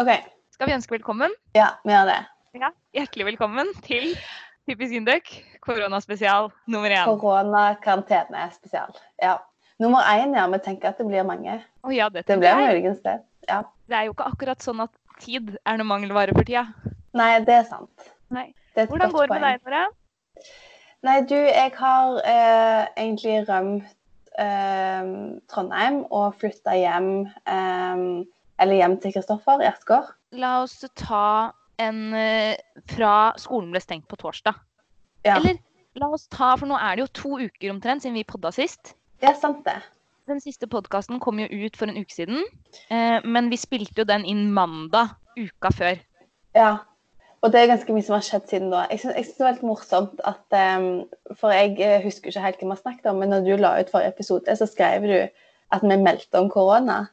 OK. Skal vi ønske velkommen? Ja, vi gjør det. Ja. Hjertelig velkommen til Typisk Indøk koronaspesial nummer én. Koronakarantene spesial. Ja. Nummer én, ja. Vi tenker at det blir mange. Å ja, det, Det tenker blir jeg. muligens det. Ja. det er jo ikke akkurat sånn at tid er noe mangelvare for tida. Nei, det er sant. Nei. Det er et Hvordan godt går det med poeng. deg, Nora? Nei, du, jeg har eh, egentlig rømt eh, Trondheim og flytta hjem eh, Eller hjem til Kristoffer i Asker. La oss ta en eh, fra skolen ble stengt på torsdag. Ja. Eller la oss ta, for nå er det jo to uker omtrent siden vi podda sist. Det er sant, det. Den siste podkasten kom jo ut for en uke siden, eh, men vi spilte jo den inn mandag uka før. Ja. Og det er ganske mye som har skjedd siden da. Jeg syns jeg synes det var litt morsomt at eh, For jeg eh, husker ikke helt hva vi har snakket om, men når du la ut forrige episode, så skrev du at vi meldte om korona.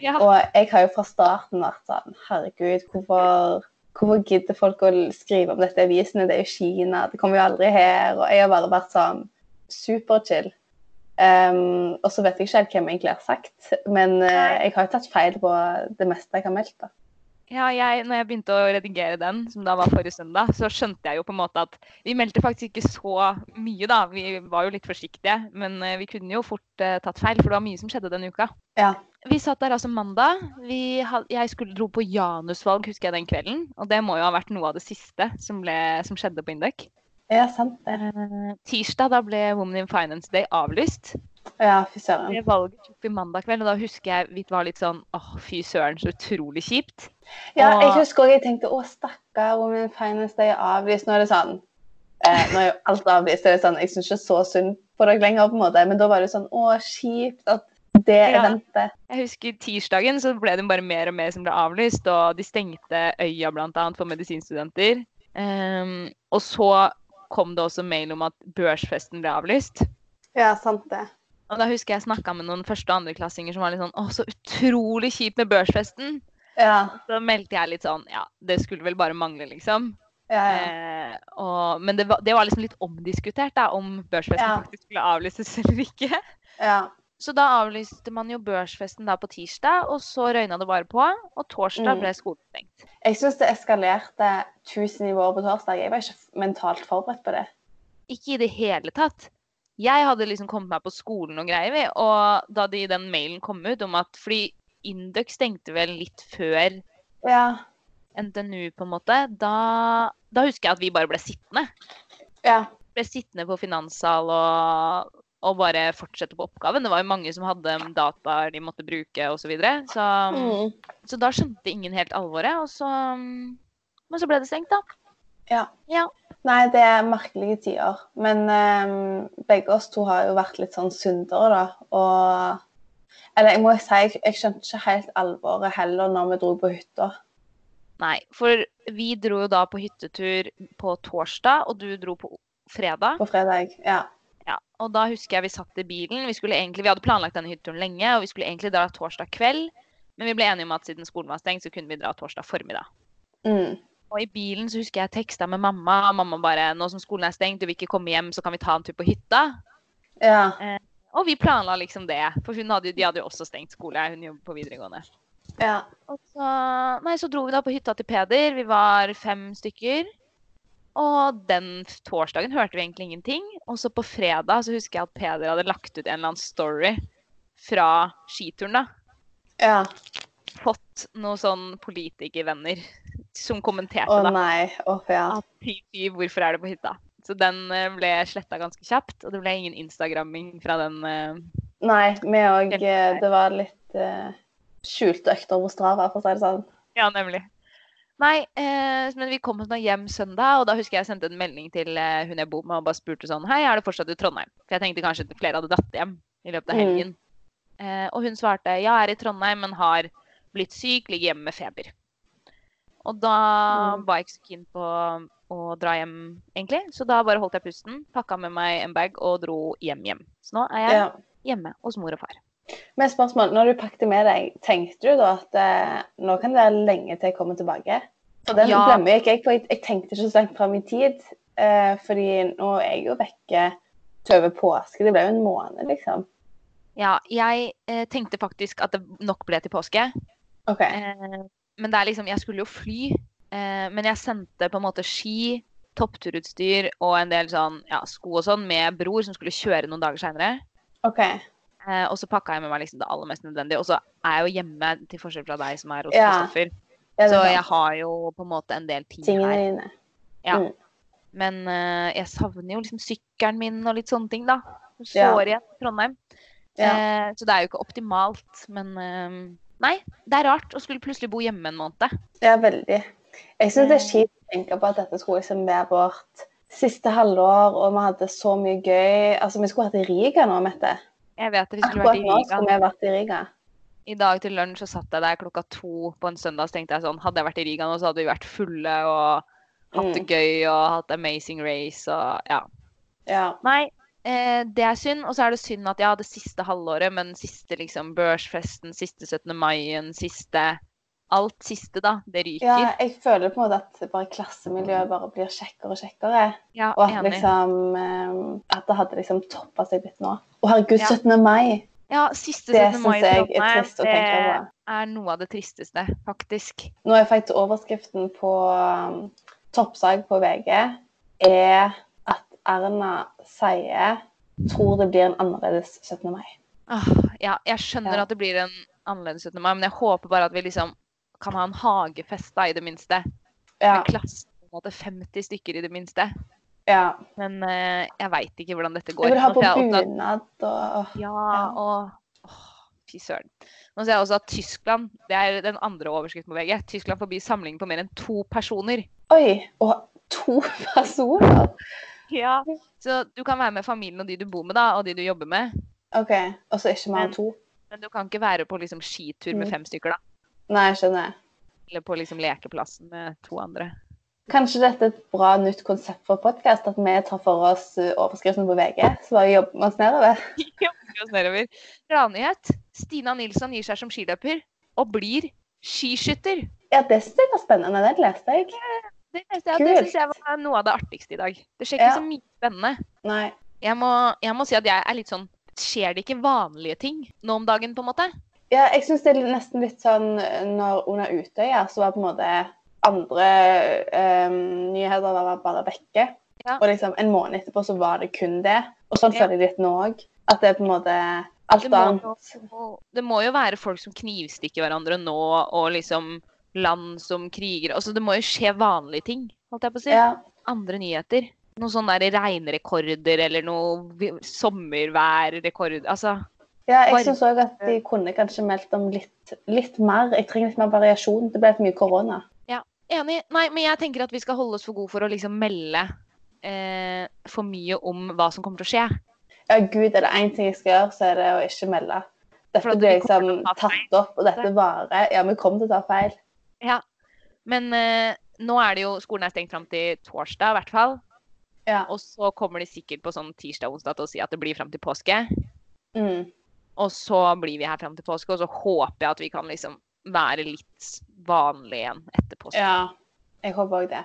Ja. Og jeg har jo fra starten vært sånn Herregud, hvorfor, hvorfor gidder folk å skrive om dette i avisene? Det er jo Kina, det kommer jo aldri her. Og jeg har bare vært sånn superchill. Um, og så vet jeg ikke helt hvem jeg egentlig har sagt, men eh, Nei. jeg har jo tatt feil på det meste jeg har meldt. da. Ja, jeg, når jeg begynte å redigere den, som da var forrige søndag, så skjønte jeg jo på en måte at vi meldte faktisk ikke så mye, da. Vi var jo litt forsiktige, men eh, vi kunne jo fort eh, tatt feil, for det var mye som skjedde den uka. Ja. Vi satt der altså mandag. Vi had, jeg skulle dro på Janusvalg, husker jeg den kvelden. Og det må jo ha vært noe av det siste som, ble, som skjedde på Induc. Ja, sant det. Eh, tirsdag da ble Women in Finance Day avlyst. Ja, fy søren. Det valget tok vi mandag kveld, og da husker jeg vi var litt sånn åh, fy søren, så utrolig kjipt. Ja, jeg Og- husker også jeg tenkte å, stakkar, Women in Finance Day er avlyst. Nå er det sånn eh, Nå er jo alt avlyst. Det er sånn, jeg syns ikke så synd på deg lenger, på en måte, men da var det sånn Å, kjipt at det Ja. eventet Jeg husker tirsdagen så ble det bare mer og mer som ble avlyst, og de stengte øya bl.a. for medisinstudenter. Ehm, og så kom det også mail om at børsfesten ble avlyst. Ja, sant det. Og da husker jeg snakka med noen første- og andreklassinger som var litt sånn Å, så utrolig kjipt med børsfesten. Ja, Så meldte jeg litt sånn Ja, det skulle vel bare mangle, liksom. ja, ja. Eh, og, men det var, det var liksom litt omdiskutert, da, om børsfesten Ja. faktisk skulle avlyses eller ikke. ja. Så da avlyste man jo børsfesten da på tirsdag, og så røyna det bare på. Og torsdag Mm. ble skolen stengt. Jeg syns det eskalerte 1000 nivåer på torsdag. Jeg var ikke f- mentalt forberedt på det. Ikke i det hele tatt. Jeg hadde liksom kommet meg på skolen og greier, vi, og da de, den mailen kom ut om at Fordi Induc stengte vel litt før Ja, NTNU, på en måte, da, da husker jeg at vi bare ble sittende. ja, Ble sittende på finanssal og, og bare fortsette på oppgaven. Det var jo mange som hadde um, dataer de måtte bruke osv. Så, videre. så, um, mm. så da skjønte ingen helt alvoret. Og så, um, men så ble det stengt, da. ja. Ja. Nei, det er merkelige tider. Men ehm, begge oss to har jo vært litt sånn syndere, da. Og Eller jeg må si, jeg, jeg skjønte ikke helt alvoret heller når vi dro på hytta. Nei, for vi dro jo da på hyttetur på torsdag, og du dro på fredag. På fredag. Ja. Ja, og da husker jeg vi satt i bilen. Vi, skulle egentlig, vi hadde planlagt denne hytteturen lenge, og vi skulle egentlig dra torsdag kveld. Men vi ble enige om at siden skolen var stengt, så kunne vi dra torsdag formiddag. Mm. Og i bilen så husker jeg teksta med mamma, og mamma bare 'Nå som skolen er stengt, du vil ikke komme hjem, så kan vi ta en tur på hytta'. ja. Og vi planla liksom det, for hun hadde, jo- de hadde jo også stengt skole. Hun jobber på videregående. Ja. Og så, nei, så dro vi da på hytta til Peder. Vi var fem stykker. Og den torsdagen hørte vi egentlig ingenting. Og så på fredag så husker jeg at Peder hadde lagt ut en eller annen story fra skituren, da. Ja. Fått noen sånn politikervenner som kommenterte, Å da. nei. Å ja. Fy, fy, hvorfor er du på hytta? Så den eh, ble sletta ganske kjapt, og det ble ingen instagramming fra den. eh. Nei, vi òg Det var litt eh, skjulte økter på Strava, for å si det sånn. Ja, nemlig. Nei, eh, men vi kom oss nå hjem søndag, og da husker jeg jeg sendte en melding til eh, hun jeg bor med, og bare spurte sånn Hei, er du fortsatt i Trondheim? For jeg tenkte kanskje at flere hadde dratt hjem i løpet av Mm. helgen. Eh, og hun svarte ja, er i Trondheim, men har blitt syk, ligger hjemme med feber. Og da Mm. var jeg ikke så keen på å dra hjem, egentlig. Så da bare holdt jeg pusten, pakka med meg en bag og dro hjem hjem. Så nå er jeg Ja. hjemme hos mor og far. Men spørsmål, når du pakket med deg, tenkte du da at eh, nå kan det være lenge til jeg kommer tilbake? For den Ja. glemmer jeg ikke. Jeg, for jeg, jeg tenkte ikke så langt fram i tid. eh, fordi nå er jeg jo vekke til over påske. Det ble jo en måned, liksom. Ja, jeg eh, tenkte faktisk at det nok ble til påske. OK. Eh, Men det er liksom Jeg skulle jo fly, eh, men jeg sendte på en måte ski, toppturutstyr og en del sånn ja, sko og sånn med bror, som skulle kjøre noen dager seinere. OK. Eh, og så pakka jeg med meg liksom det aller mest nødvendige. Og så er jeg jo hjemme, til forskjell fra deg som er hos Ja. Kristoffer. Ja, det er Så sant. jeg har jo på en måte en del ting Tingene her. dine. Ja. Mm. Men eh, jeg savner jo liksom sykkelen min og litt sånne ting, da. Hun Ja. Står igjen i Trondheim. Ja. Eh, så det er jo ikke optimalt, men eh, Nei, det er rart å skulle plutselig bo hjemme en måned. ja, veldig. Jeg syns Eh. det er kjipt å tenke på at dette skulle liksom være vårt siste halvår, og vi hadde så mye gøy. Altså, vi skulle vært i Riga nå, Mette. Jeg vet det, vi skulle Akkurat vært i nå Riga. skulle vi vært i Riga. I dag til lunsj så satt jeg der klokka to på en søndag så tenkte jeg sånn Hadde jeg vært i Riga nå, så hadde vi vært fulle og hatt det Mm. gøy og hatt amazing race og ja. Ja. Nei, eh, det er synd. Og så er det synd at ja, det siste halvåret, men siste liksom børsfesten, siste 17. mai-en, siste Alt siste, da. Det ja, ryker. jeg føler på en måte at bare klassemiljøet bare blir kjekkere og kjekkere. Ja, Og at, enig. liksom, eh, at det hadde liksom toppa seg litt nå. Å herregud, Ja. 17. mai! Ja, siste Det 17. mai syns i jeg er Trondheim, trist å tenke på. Det er noe av det tristeste, faktisk. Nå er faktisk overskriften på um, toppsag på VG er at Erna sier tror det blir en annerledes 17. mai. Åh, Ah, ja, jeg skjønner Ja. at det blir en annerledes 17. mai, men jeg håper bare at vi liksom kan ha en hagefest, da, i det minste. Ja, Med klassen på en måte 50 stykker, i det minste. ja. Men eh, jeg veit ikke hvordan dette går. Jeg vil ha Nå på ser jeg også at- bunad og Ja, og åh, Fy søren. Nå ser jeg også at Tyskland Det er den andre overskriften på VG. Tyskland forbyr samling på mer enn to personer. Oi! Og to personer! Ja. Så du kan være med familien og de du bor med, da, og de du jobber med. OK, og så ikke mer enn to? Men du kan ikke være på liksom, skitur med Mm. fem stykker, da. Nei, jeg skjønner. Eller på liksom, lekeplassen med to andre. Kanskje dette er et bra nytt konsept for podkast, at vi tar for oss uh, overskriften på VG, så bare jobber vi oss nedover. Jobber oss nedover. Gladnyhet. Stina Nilsson gir seg som skiløper og blir skiskytter. Ja, det syns jeg var spennende. Den leste jeg. Det, leste jeg, og det Kult. syns jeg var noe av det artigste i dag. Det skjer ikke Ja. så mye spennende. Nei. Jeg må, jeg må si at jeg er litt sånn Skjer det ikke vanlige ting nå om dagen, på en måte? Ja, jeg syns det er nesten litt sånn eh, når under Utøya så var på en måte andre eh, nyheter var bare vekke. Ja. Og liksom en måned etterpå så var det kun det. Og sånn Ja. føler jeg litt nå òg. At det er på en måte alt Det må, annet. jo, det må jo være folk som knivstikker hverandre nå, og liksom land som kriger altså, Det må jo skje vanlige ting, holdt jeg på å si. Ja, Andre nyheter. Noen sånne der regnrekorder eller noe vi- sommerværrekord Altså, ja jeg Varme. syns òg at de kunne kanskje meldt om litt, litt mer. Jeg trenger litt mer variasjon. Det ble for mye korona. enig. Nei, men jeg tenker at vi skal holde oss for gode for å liksom melde eh, for mye om hva som kommer til å skje. Ja, gud, er det én ting jeg skal gjøre, så er det å ikke melde. Dette For at vi blir kommer liksom til å ta feil. tatt opp, og dette varer. Ja, vi kommer til å ta feil. Ja. Men eh, nå er det jo Skolen er stengt fram til torsdag, i hvert fall. Ja. Og så kommer de sikkert på sånn tirsdag-onsdag til å si at det blir fram til påske. Mm. Og så blir vi her fram til påske, og så håper jeg at vi kan liksom være litt vanlige igjen etter påske. Ja. Jeg håper òg det.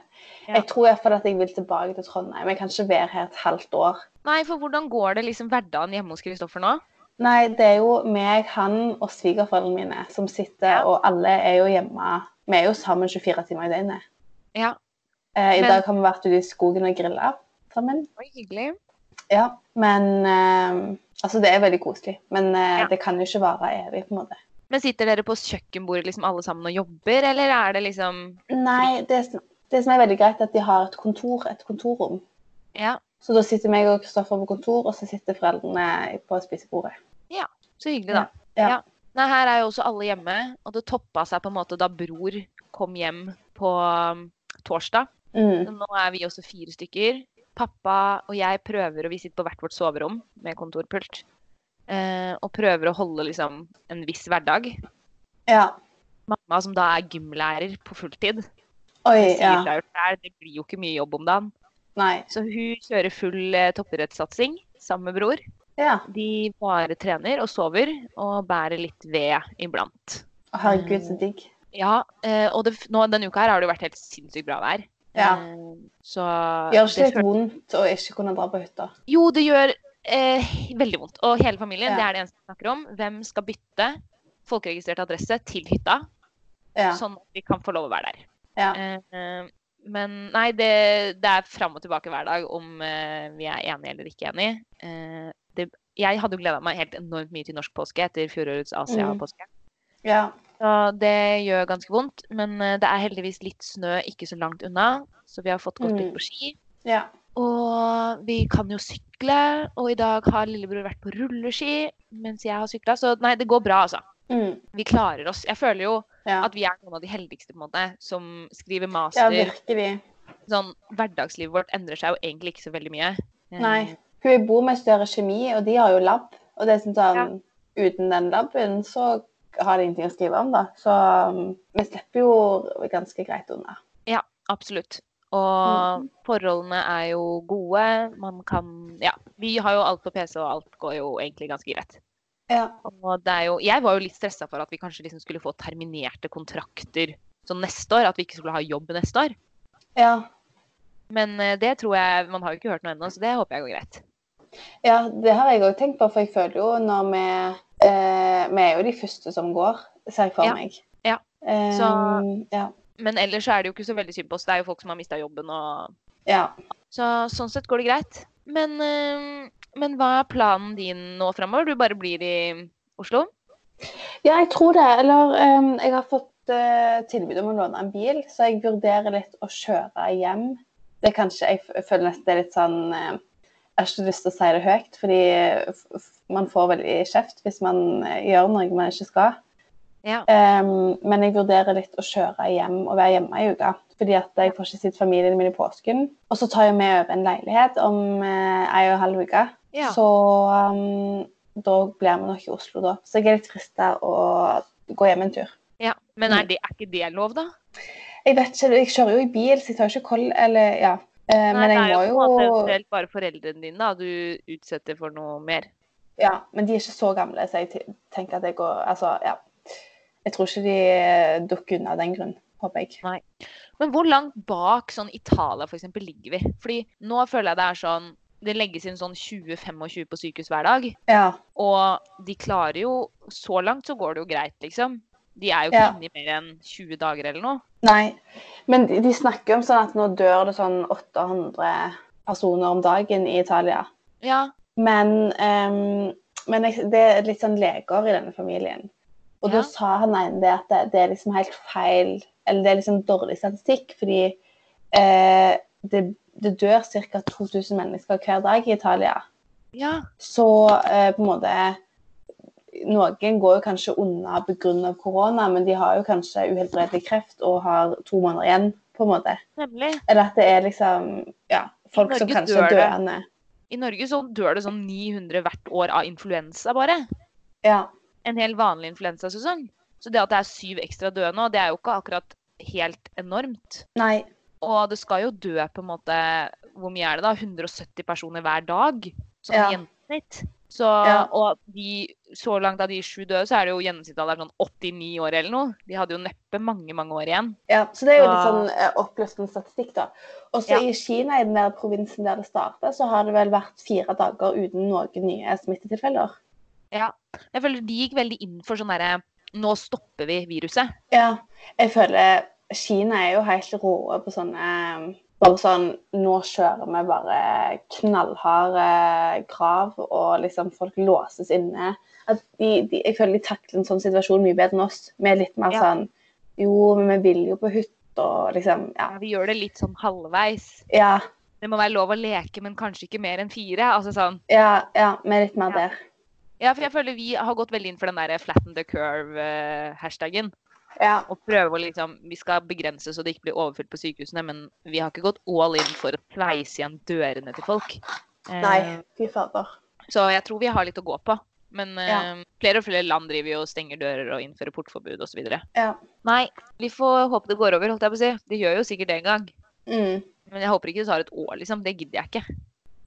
Ja. Jeg tror iallfall at jeg vil tilbake til Trondheim. Jeg kan ikke være her et halvt år. Nei, for hvordan går det liksom hverdagen hjemme hos Kristoffer nå? Nei, det er jo meg, han og svigerforeldrene mine som sitter, Ja. og alle er jo hjemme. Vi er jo sammen 24 timer i døgnet. Ja. Eh, I Men- dag har vi vært ute i skogen og grilla sammen. Oi, hyggelig. Ja. Men eh, Altså, det er veldig koselig, men eh, Ja. det kan jo ikke vare evig, på en måte. Men sitter dere på kjøkkenbordet liksom alle sammen og jobber, eller er det liksom Nei, det, som- det som er veldig greit, er at de har et kontor, et kontorrom. Ja, Så da sitter meg og Kristoffer på kontor, og så sitter foreldrene på spisebordet. så hyggelig, da. Ja. Ja. Nei, her er jo også alle hjemme, og det toppa seg på en måte da bror kom hjem på um, torsdag. Mm. Så nå er vi også fire stykker. Pappa og jeg prøver, og vi sitter på hvert vårt soverom med kontorpult, eh, og prøver å holde liksom en viss hverdag. Ja. Mamma, som da er gymlærer på fulltid, Oi, sier ja. seg jo selv, det blir jo ikke mye jobb om dagen. Nei. Så hun kjører full eh, toppidrettssatsing sammen med bror. Ja. De bare trener og sover, og bærer litt ved iblant. Å, Herregud, Mm. så digg. Ja, eh, og det, f- nå, denne uka her har det jo vært helt sinnssykt bra vær. Ja. Eh, Så Gjør det ikke det litt vondt å ikke kunne dra på hytta? Jo, det gjør eh, veldig vondt. Og hele familien, Ja. det er det eneste vi snakker om. Hvem skal bytte folkeregistrert adresse til hytta? Ja. sånn at vi kan få lov å være der. Ja. Eh, men nei, det, det er fram og tilbake hver dag om eh, vi er enige eller ikke enige. Eh, det, jeg hadde jo gleda meg helt enormt mye til norsk påske etter fjorårets Mm. Asia-påske. ja. Så det gjør ganske vondt, men eh, det er heldigvis litt snø ikke så langt unna, så vi har fått gått litt Mm. på ski. ja. Og vi kan jo sykle, og i dag har lillebror vært på rulleski mens jeg har sykla, så nei, det går bra, altså. Mm. Vi klarer oss. Jeg føler jo ja. at vi er noen av de heldigste på en måte, som skriver ja, master. virkelig. sånn, hverdagslivet vårt endrer seg jo egentlig ikke så veldig mye. Eh, Nei. Hun jeg bor med, studerer kjemi, og de har jo lab. Og det er sånn, sånn uten den laben så har de ingenting å skrive om, da. Så um, vi slipper jo ganske greit unna. Absolutt. Og Mm. forholdene er jo gode. Man kan Ja, vi har jo alt på PC, og alt går jo egentlig ganske greit. Ja. Og det er jo Jeg var jo litt stressa for at vi kanskje liksom skulle få terminerte kontrakter sånn neste år, at vi ikke skulle ha jobb neste år. Ja, Men eh, det tror jeg Man har jo ikke hørt noe ennå, så det håper jeg går greit. ja det har jeg òg tenkt på, for jeg føler jo når vi eh, Vi er jo de første som går, ser jeg for Ja. meg. Ja. Um, Så- ja. Men ellers så er det jo ikke så veldig synd på oss. Det er jo folk som har mista jobben og ja. Så sånn sett går det greit. Men, eh, men hva er planen din nå framover? Du bare blir i Oslo? Ja, jeg tror det. Eller ehm, jeg har fått eh, tilbud om å låne en bil, så jeg vurderer litt å kjøre hjem. Det er kanskje, Jeg f- føler nesten det er litt sånn eh, Jeg har ikke lyst til å si det høyt, fordi eh, f f- man får veldig kjeft hvis man eh, gjør noe man ikke skal. Ja. Ehm, men jeg vurderer litt å kjøre hjem og være hjemme i uka. Fordi at jeg får ikke sett familien min i påsken. Og så tar jeg med over en leilighet om eh, ei og en halv uke. Ja. Så ehm, da blir vi nok i Oslo da. Så jeg er litt frista å gå hjem en tur. ja. Men er, det, er ikke det lov, da? Jeg vet ikke, jeg kjører jo i bil, så jeg tar jo ikke koll, eller ja. Eh, men jeg må det er på en måte jo eventuelt bare foreldrene dine da, du utsetter for noe mer. Ja, men de er ikke så gamle, så jeg t- tenker at jeg går Altså, ja. Jeg tror ikke de eh, dukker unna av den grunn, håper jeg. Men hvor langt bak sånn Italia for eksempel, ligger vi? Fordi nå føler jeg det er sånn Det legges inn sånn 20-25 på sykehus hver dag. Ja. Og de klarer jo Så langt så går det jo greit, liksom. De er jo ikke Ja. inne i mer enn 20 dager eller noe. Nei, men de, de snakker om sånn at nå dør det sånn 800 personer om dagen i Italia. Ja. Men, ehm, men jeg- det er litt sånn leger i denne familien. Og da Ja. sa han ene det at det, det er liksom helt feil, eller det er liksom dårlig statistikk, fordi eh, det, det dør ca. 2000 mennesker hver dag i Italia. ja. Så eh, på en måte Noen går jo kanskje unna pga. korona, men de har jo kanskje uhelbredelig kreft og har to måneder igjen, på en måte. Nemlig. Eller at det er liksom ja, folk som Norge kanskje dør er det. døende. I Norge så dør det sånn 900 hvert år av influensa bare. Ja. En hel vanlig influensasesong. Så det at det er syv ekstra døde nå, det er jo ikke akkurat helt enormt. Nei. Og det skal jo dø på en måte Hvor mye er det, da? 170 personer hver dag? Sånn i Ja. gjennomsnitt. Så, Ja. Og de, så langt av de sju døde, så er det jo gjennomsnittsalderen sånn 89 år eller noe. De hadde jo neppe mange, mange år igjen. Ja, så det er jo litt Så- sånn eh, oppløftende statistikk, da. Og så Ja. i Kina, i den der provinsen der det starta, så har det vel vært fire dager uten noen nye smittetilfeller. Jeg føler de gikk veldig inn for sånn derre Nå stopper vi viruset. Ja. Jeg føler Kina er jo helt råe på sånne Bare sånn Nå kjører vi bare knallharde krav, og liksom folk låses inne. At de, de, jeg føler de takler en sånn situasjon mye bedre enn oss. Vi er litt mer Ja. sånn Jo, men vi vil jo på hytta, og liksom Ja. Ja, vi gjør det litt sånn halvveis. Ja, Det må være lov å leke, men kanskje ikke mer enn fire. Altså sånn. ja, ja vi er litt mer Ja. der. Ja, for jeg føler vi har gått veldig inn for den der 'flatten the eh, curve'-hashtagen. Ja. Og prøver å liksom Vi skal begrense så det ikke blir overfylt på sykehusene, men vi har ikke gått all in for å sveise igjen dørene til folk. Eh, Nei, fy fader. Så jeg tror vi har litt å gå på. Men Ja. eh, flere og flere land driver jo og stenger dører og innfører portforbud osv. Ja. Nei, vi får håpe det går over, holdt jeg på å si. Det gjør jo sikkert det en gang. Mm. Men jeg håper ikke det tar et år, liksom. Det gidder jeg ikke.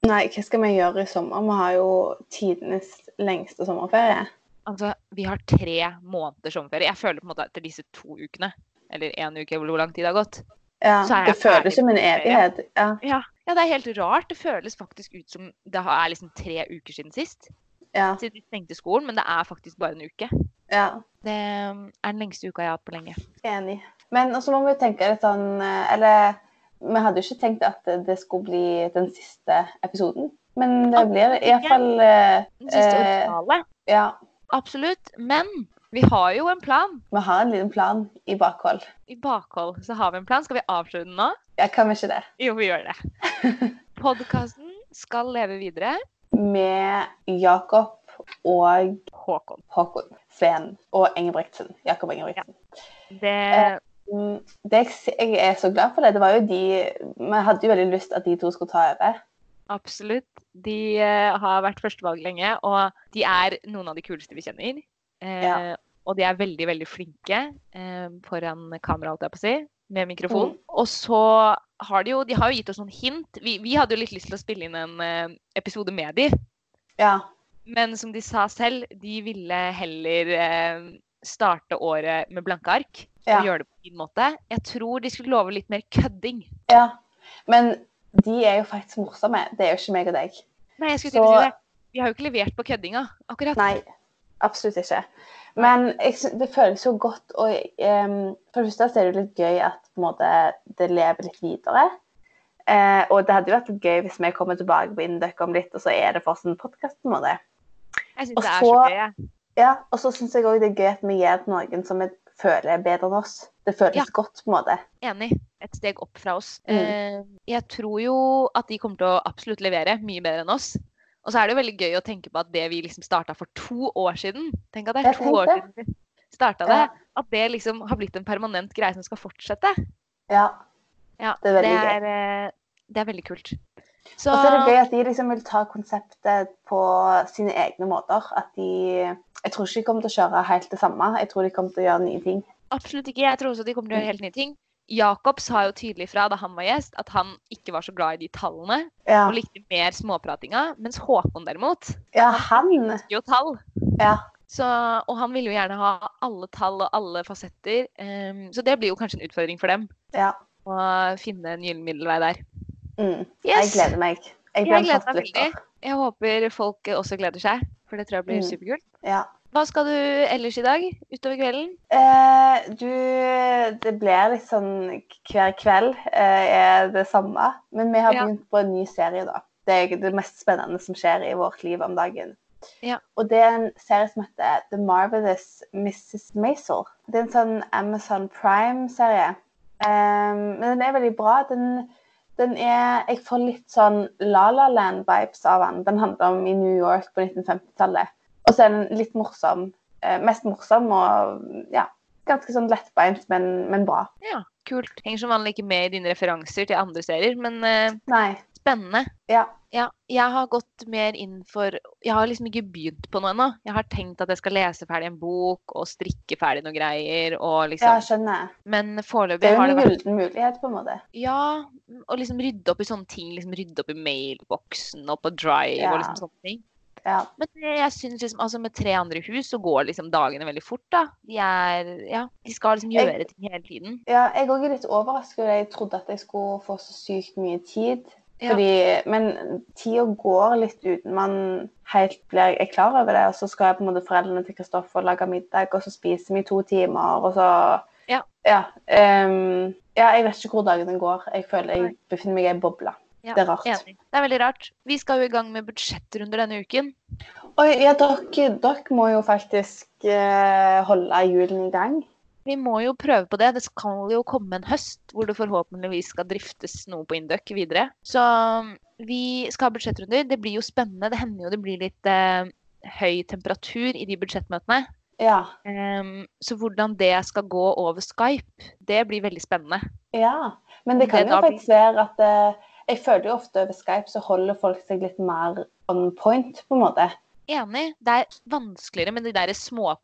Nei, hva skal vi gjøre i sommer? Vi har jo tidenes lengste sommerferie. Altså, vi har tre måneder sommerferie. Jeg føler på en måte at etter disse to ukene, eller én uke, eller hvor lang tid det har gått Ja, Så er det jeg ferdig føles som en med ferie. evighet. Ja. Ja. ja, det er helt rart. Det føles faktisk ut som det har- er liksom tre uker siden sist. Ja, Siden vi stengte skolen, men det er faktisk bare en uke. Ja, Det um, er den lengste uka jeg har hatt på lenge. enig. Men også må vi jo tenke litt sånn eh, Eller vi hadde jo ikke tenkt at det skulle bli den siste episoden. Men det blir iallfall Den siste Eh, originale. Ja, Absolutt. Men vi har jo en plan. vi har en liten plan i bakhold. I bakhold så har vi en plan. Skal vi avslutte den nå? Ja, kan vi ikke det? Jo, vi gjør det. Podkasten skal leve videre. Med Jakob og Håkon. Håkon Sveen og Engebrektsen. Jakob Engebrektsen. Det Mm, Det jeg, s- jeg er så glad for det. Det var jo de Vi hadde jo veldig lyst at de to skulle ta over. Absolutt. De eh, har vært førstevalg lenge, og de er noen av de kuleste vi kjenner. Eh, Ja. Og de er veldig, veldig flinke eh, foran kamera, holdt jeg på å si, med Mm. mikrofon. Og så har de jo De har jo gitt oss noen hint. Vi, vi hadde jo litt lyst til å spille inn en eh, episode med de, Ja. men som de sa selv, de ville heller eh, starte året med blanke ark. Ja. Og gjøre det på sin måte. Jeg tror de skulle love litt mer kødding. ja. Men de er jo faktisk morsomme. Det er jo ikke meg og deg. Nei, jeg skulle Så- til å si det. De har jo ikke levert på køddinga, akkurat. Nei. Absolutt ikke. Men jeg, sy- det føles jo godt og ehm, For det første så er det jo litt gøy at på en måte, det lever litt videre. Eh, og det hadde jo vært litt gøy hvis vi kommer tilbake på Induck om litt, og så er det fortsatt en podkast. Og Jeg syns det er så så- gøy. jeg. Ja, og så syns jeg òg det er gøy at vi gir det til noen som vi føler er bedre enn oss. Det føles Ja. godt, på en måte. Enig. Et steg opp fra oss. Mm. Eh, jeg tror jo at de kommer til å absolutt levere mye bedre enn oss. Og så er det jo veldig gøy å tenke på at det vi liksom starta for to år siden Tenk at det er Jeg to år tenkte. siden vi starta det. Ja. At det liksom har blitt en permanent greie som skal fortsette. Ja. Ja, Det er veldig det er, eh, det er veldig kult. Så, Og så er det gøy at de liksom vil ta konseptet på sine egne måter. At de Jeg tror ikke de kommer til å kjøre helt det samme. Jeg tror de kommer til å gjøre nye ting. absolutt ikke. Jeg tror også de kommer til å gjøre helt nye ting. Jakob sa jo tydelig fra da han var gjest, at han ikke var så glad i de tallene. Ja, Og likte mer småpratinga. Mens Håkon derimot ja han elsker jo tall. Ja. Så, og han ville jo gjerne ha alle tall og alle fasetter. ehm, så det blir jo kanskje en utfordring for dem ja. å finne en gyllen middelvei der. Mm. Jeg Yes! Jeg, gleder meg. Jeg Jeg blir en gleder fast meg veldig. lytter. håper folk også gleder seg, for det tror jeg blir Mm. superkult. Ja. Hva skal du ellers i dag utover kvelden? Eh, du Det blir litt sånn hver kveld eh, er det samme. Men vi har Ja. begynt på en ny serie, da. Det er det mest spennende som skjer i vårt liv om dagen. Ja. Og det er en serie som heter The Marvelous Mrs. Maisel. Det er en sånn Amazon Prime-serie. Eh, men den er veldig bra. Den, den er Jeg får litt sånn La La Land-vibes av den. Den handler om i New York på 1950-tallet. Og så er den litt morsom. Eh, mest morsom og ja, ganske sånn lettbeint, men, men bra. Ja, kult. Henger som vanlig ikke med i dine referanser til andre serier, men eh, Nei. spennende. Ja. Ja, jeg har gått mer inn for Jeg har liksom ikke begynt på noe ennå. Jeg har tenkt at jeg skal lese ferdig en bok og strikke ferdig noen greier og Ja, liksom skjønner. Men Det foreløpig er jo har det en vært gyllen mulighet, på en måte. Ja, og liksom rydde opp i sånne ting. liksom Rydde opp i mailboksen og på drive Ja. og liksom sånne ting. Ja. Men det- jeg synes liksom, altså med tre andre hus så går liksom dagene veldig fort, da. De er Ja, de skal liksom Jeg- gjøre ting hele tiden. ja jeg òg er litt overrasket. Jeg trodde at jeg skulle få så sykt mye tid. Ja. Fordi, Men tida går litt uten man helt blir er klar over det. Og så skal jeg på en måte foreldrene til Kristoffer lage middag, og så spiser vi i to timer, og så Ja. Ja, ehm, ja, jeg vet ikke hvor dagene går. Jeg føler jeg Nei. befinner meg i ei boble. Ja, Det er rart. Enig. Det er veldig rart. Vi skal jo i gang med budsjettrunder denne uken. Oi, ja, dere, dere må jo faktisk eh, holde julen i gang. Vi må jo prøve på det. Det skal jo komme en høst hvor det forhåpentligvis skal driftes noe på Induc videre. Så um, vi skal ha budsjettrunder. Det blir jo spennende. Det hender jo det blir litt eh, høy temperatur i de budsjettmøtene. Ja. Ehm, så hvordan det skal gå over Skype, det blir veldig spennende. ja. Men det kan Det jo da blir- faktisk være at eh, Jeg føler jo ofte over Skype så holder folk seg litt mer on point, på en måte. Enig. Det er vanskeligere med de der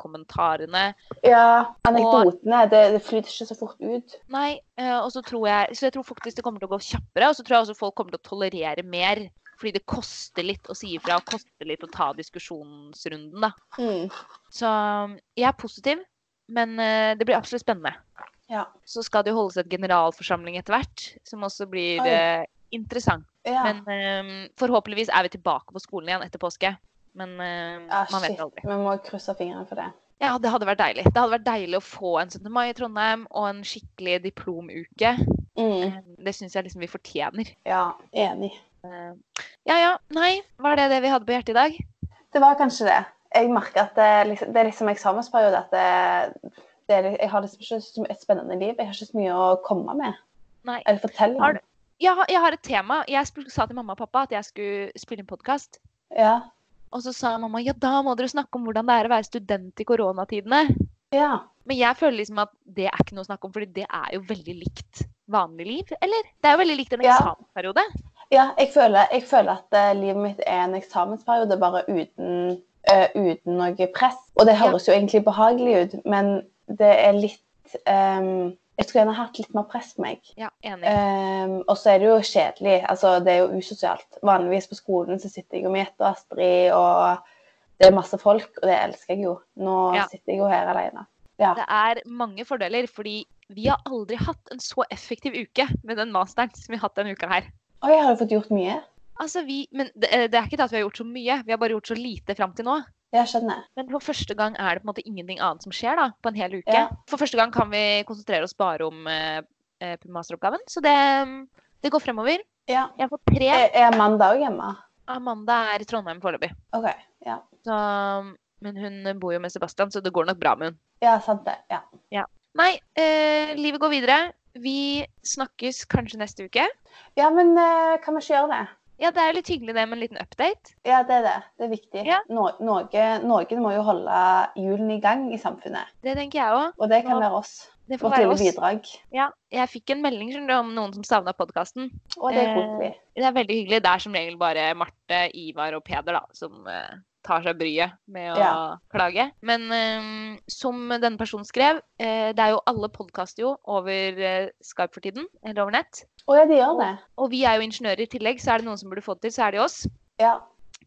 småkommentarene. Ja. Anekdotene. Det, det flyter ikke så fort ut. Nei, eh, og så tror jeg Så jeg tror faktisk det kommer til å gå kjappere. Og så tror jeg også folk kommer til å tolerere mer. Fordi det koster litt å si ifra og koster litt å ta diskusjonsrunden, da. Så um, jeg er positiv, men eh, det blir absolutt spennende. Ja. Så skal det jo holdes et generalforsamling etter hvert, som også blir Oi. eh, interessant. Ja. Men eh, forhåpentligvis er vi tilbake på skolen igjen etter påske. Men eh, ja, man Ah, vet shit. aldri. Vi må krysse fingrene for det. Ja, det hadde vært deilig. Det hadde vært deilig å få en 17. mai i Trondheim og en skikkelig diplomuke. Mm. Det syns jeg liksom vi fortjener. Ja, enig. Ja ja, nei, var det det vi hadde på hjertet i dag? Det var kanskje det. Jeg merker at det, liksom- det er liksom eksamensperiode at det, det er, jeg har liksom ikke så mye- et spennende liv. Jeg har ikke så mye å komme med Nei. eller fortelle Har om. du- Jeg, har- jeg har et tema. Jeg sp- sa til mamma og pappa at jeg skulle spille inn podkast. Ja. Og så sa mamma ja, da må dere snakke om hvordan det er å være student i koronatidene. ja. Men jeg føler liksom at det er ikke noe å snakke om, fordi det er jo veldig likt vanlig liv. Eller? Det er jo veldig likt en Ja. eksamensperiode. Ja, jeg føler, jeg føler at eh, livet mitt er en eksamensperiode bare uten, eh, uten noe press. Og det høres jo egentlig behagelig ut, men det er litt ehm, Jeg skulle gjerne hatt litt mer press på meg. Ja, enig. Ehm, og så er det jo kjedelig. Altså, det er jo usosialt. Vanligvis på skolen så sitter jeg jo med Jette og Astrid, og det er masse folk, og det elsker jeg jo. Nå Ja. sitter jeg jo her alene. Det er mange fordeler, fordi vi har aldri hatt en så effektiv uke med den masteren som vi har hatt denne uka her. Oi, jeg har jo fått gjort mye. Altså, vi, men det, det er ikke det at vi har gjort så mye, vi har bare gjort så lite fram til nå. Jeg skjønner. Men for første gang er det på en måte ingenting annet som skjer da, på en hel uke. Ja. For første gang kan vi konsentrere oss bare om eh, eh, masteroppgaven, så det, det går fremover. Ja. Jeg har fått tre. Er, er Amanda òg hjemme? Amanda er i Trondheim foreløpig. OK. Ja. Så, men hun bor jo med Sebastian, så det går nok bra med hun. ja, sant det. Ja. Nei, eh, livet går videre. Vi snakkes kanskje neste uke. ja, men eh, kan vi ikke gjøre det? Ja, det er jo litt hyggelig det med en liten update. Ja, det er det. Det er viktig. Ja. No, noe, noen må jo holde hjulene i gang i samfunnet, Det tenker jeg òg. og det kan Ja. være oss. Det får Vårt være lille oss. bidrag. Ja, jeg fikk en melding skjønner du, om noen som savna podkasten. Og det er Eh, koselig. Det er veldig hyggelig. Det er som regel bare Marte, Ivar og Peder da, som eh, tar seg bryet med å Ja. klage. Men eh, som denne personen skrev, eh, det er jo alle podkaster jo over eh, Skype for tiden, eller over nett. Å ja, de gjør det. Og vi er jo ingeniører i tillegg, så er det noen som burde få det til, så er det oss. Ja.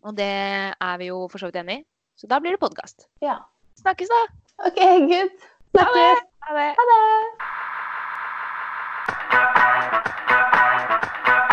Og det er vi jo for så vidt enig i. Så da blir det podkast. Ja. Snakkes, da! OK, good. Snakkes. Ha det! Ha det.